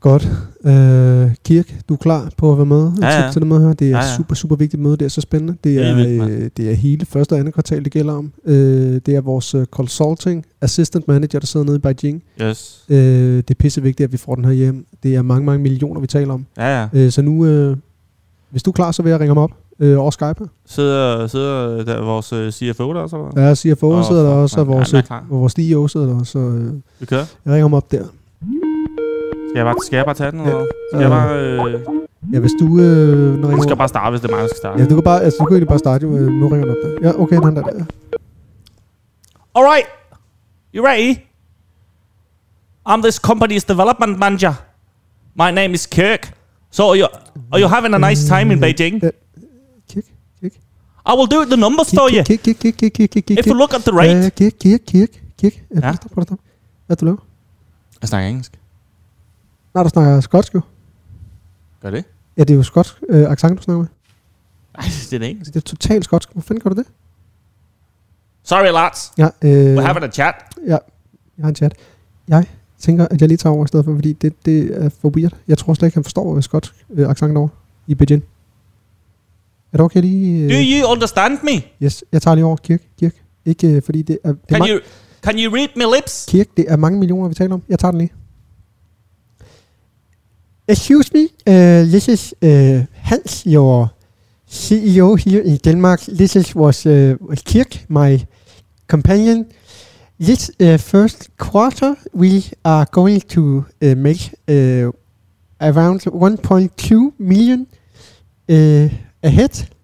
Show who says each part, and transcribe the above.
Speaker 1: Godt. Øh, Kirk, du er klar på at være med?
Speaker 2: Ja, ja.
Speaker 1: Til, til det møde her. Det er
Speaker 2: Ja,
Speaker 1: ja,
Speaker 2: ja.
Speaker 1: ja. super, super vigtigt møde. Det er så spændende. Det
Speaker 2: Det er
Speaker 1: er,
Speaker 2: vildt, mand.
Speaker 1: øh, det er hele første og andet kvartal, det gælder om. Øh, det er vores øh, consulting assistant manager, der sidder nede i Beijing.
Speaker 2: Yes.
Speaker 1: Øh, det er pissevigtigt, at vi får den her hjem. Det er mange, mange millioner, vi taler om.
Speaker 2: Ja, ja.
Speaker 1: Øh, så nu, øh, hvis du er klar, så vil jeg ringe ham op øh, over Skype.
Speaker 2: Sidder, sidder der vores øh, CFO der også, eller hvad?
Speaker 1: Ja, jeg siger, for
Speaker 2: Åh,
Speaker 1: sidder der
Speaker 2: fuck,
Speaker 1: også, og
Speaker 2: mand.
Speaker 1: vores, øh,
Speaker 2: Ja, den er klar.
Speaker 1: og vores CEO sidder der også. Og, øh,
Speaker 2: Vi kører.
Speaker 1: jeg ringer ham op der.
Speaker 2: Skal jeg bare, skal jeg bare tage den, eller hvad? Skal
Speaker 1: Øh,
Speaker 2: jeg bare... Øh,
Speaker 1: Ja, hvis du... Øh, når
Speaker 2: du
Speaker 1: jeg
Speaker 2: skal bare starte, hvis det er mig, der skal starte.
Speaker 1: Ja, du kan, bare, altså, du kan egentlig bare starte. jo. Øh, Nu ringer han op der. Ja, okay, han er der. Ja.
Speaker 3: All right, you ready? I'm this company's development manager. My name is Kirk. So are you are you having a nice time in Beijing?
Speaker 1: Uh, Kirk, Kirk.
Speaker 3: I will do the numbers for you.
Speaker 1: Kirk, Kirk, Kirk, Kirk, Kirk, Kirk, Kirk, Kirk.
Speaker 3: If you look at the
Speaker 1: Ja,
Speaker 3: rate,
Speaker 1: Kirk, Kirk, Kirk, Kirk. Ja,
Speaker 3: Ja.
Speaker 1: prøv at stoppe, prøv at stoppe. Hvad du laver?
Speaker 2: Jeg snakker engelsk.
Speaker 1: Nej, du snakker skotsk jo.
Speaker 2: Gør det?
Speaker 1: Ja, det er jo skotsk øh, accent, du snakker med.
Speaker 2: Nej, det er det engelsk.
Speaker 1: Altså, det er totalt skotsk. Hvor fanden gør du det?
Speaker 3: sorry lads,
Speaker 1: Ja, øh,
Speaker 3: we're having a chat.
Speaker 1: ja, jeg har en chat. Jeg tænker, at jeg lige tager over i stedet for, fordi det, det er for weird. Jeg tror slet ikke, han forstår øh, skotsk øh, accent over i Beijing. Er det okay lige... Øh,
Speaker 3: Do you understand me?
Speaker 1: yes, jeg tager lige over. Kirk, Kirk. Ikke øh, fordi det er... Det er
Speaker 3: Can
Speaker 1: mange-
Speaker 3: you can you read my lips?
Speaker 1: Kirk, det er mange millioner, vi taler om. Jeg tager den lige. Excuse me, uh, this is uh, Hans, your CEO here in Denmark. This is was uh, Kirk, my companion. This uh, first quarter, we are going to uh, make uh, around 1.2 million uh, ahead.